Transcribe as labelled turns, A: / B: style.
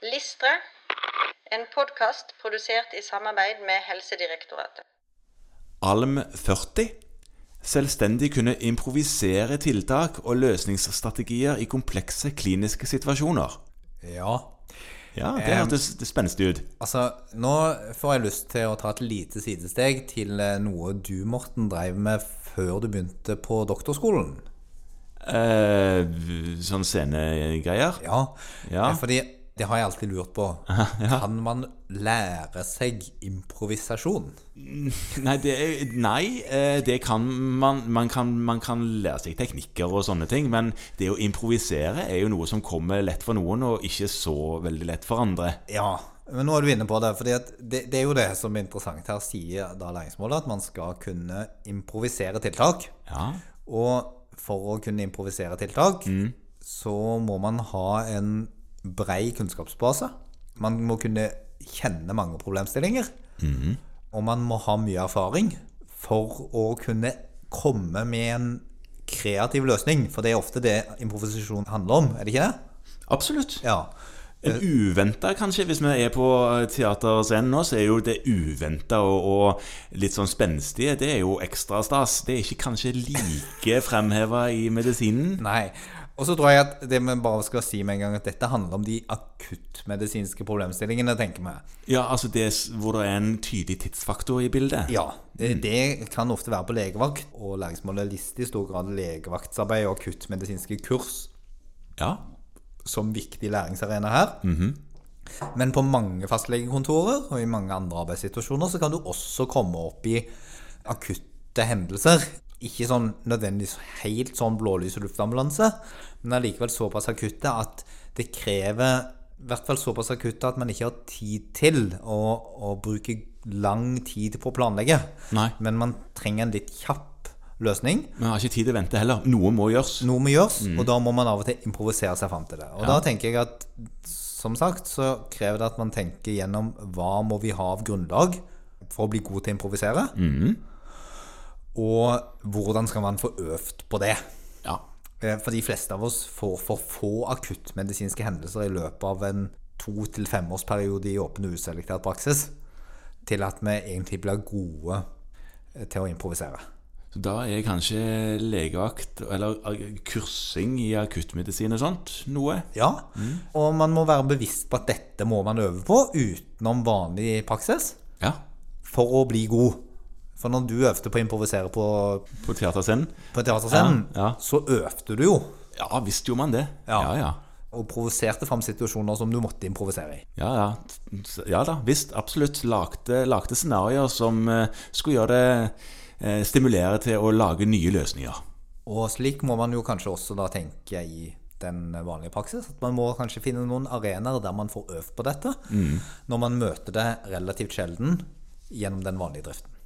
A: Listre, en podkast produsert i samarbeid med Helsedirektoratet.
B: Alm 40. Selvstendig kunne improvisere tiltak og løsningsstrategier i komplekse kliniske situasjoner.
C: Ja.
B: Ja, det
C: Em.
B: hørtes spenstig ut.
C: Altså, nå får jeg lyst til å ta et lite sidesteg til eh, noe du, Morten, drev med før du begynte på doktorskolen.
B: Eh, sånn scenegreier.
C: Ja.
B: Ja.
C: Eh, Fordi det har jeg alltid lurt på. Kan man lære seg improvisasjon?
B: Nei, det, er- nei eh, det kan man, man kan Man kan lære seg teknikker og sånne ting, men det å improvisere er jo noe som kommer lett for noen, og ikke så veldig lett for andre.
C: Ja. Men nå er du inne på det. fordi at det, det er jo det som er interessant her, sier da læringsmålet, at man skal kunne improvisere tiltak.
B: Ja,
C: Og for å kunne improvisere tiltak, så må man ha en brei kunnskapsbase. Man må kunne kjenne mange problemstillinger. Og man må ha mye erfaring for å kunne komme med en kreativ løsning. For det er ofte det improvisasjon handler om, er det ikke det?
B: absolutt.
C: Ja.
B: En uventa, kanskje, hvis vi er på eh, teaterscenen nå, så er jo det uventa og, og litt sånn spenstige, det er jo ekstra stas. Det er ikke kanskje like fremheva i medisinen.
C: Nei. Og så tror jeg at det vi bare skal si med en gang, at dette handler om de akuttmedisinske problemstillingene, tenker vi.
B: Ja, altså det s- hvor det er en tydelig tidsfaktor i bildet.
C: Ja, det, det kan ofte være på legevakt, og læringsmålet lister i stor grad legevaktsarbeid og akuttmedisinske kurs
B: Ja.
C: som viktig læringsarena her. Men på mange fastlegekontorer og i mange andre arbeidssituasjoner så kan du også komme opp i akutte hendelser. Ikke sånn nødvendigvis helt sånn blålys- og luftambulanse, men allikevel såpass akutte at det krever i hvert fall såpass akutte at man ikke har tid til å, å bruke lang tid på å planlegge.
B: Nei.
C: Men man trenger en litt kjapp løsning
B: Vi har ikke tid til å vente heller. Noe må gjøres.
C: noe må gjøres, og da må man av og til improvisere seg fram til det. Og da tenker jeg at som sagt så krever det at man tenker gjennom hva må vi ha av grunnlag for å bli god til å improvisere, og hvordan skal man få øvd på det.
B: Ja.
C: Eh, For de fleste av oss får for få akuttmedisinske hendelser i løpet av en to til femårsperiode i åpen og uselektert praksis til at vi egentlig blir gode eh, til å improvisere.
B: Så da er kanskje legevakt, eller eh, kursing i akuttmedisin og sånt, noe.
C: Ja, og man må være bevisst på at dette må man øve på utenom vanlig praksis
B: Ja.
C: for å bli god. For når du øvde på å improvisere på,
B: På teaterscenen.
C: på teaterscenen,
B: Ja, ja.
C: så øvde du jo.
B: Ja, visst gjorde man det.
C: Ja.
B: ja. ja.
C: Og provoserte fram situasjoner som du måtte improvisere i.
B: Ja, ja. S- ja da, visst, absolutt. Lagde, lagde scenarioer som eh, skulle gjøre det eh, stimulere til å lage nye løsninger.
C: Og slik må man jo kanskje også da tenke i den vanlige praksis. At man må kanskje finne noen arenaer der
B: Mm.
C: man får øvd på dette, når man møter det relativt sjelden gjennom den vanlige driften.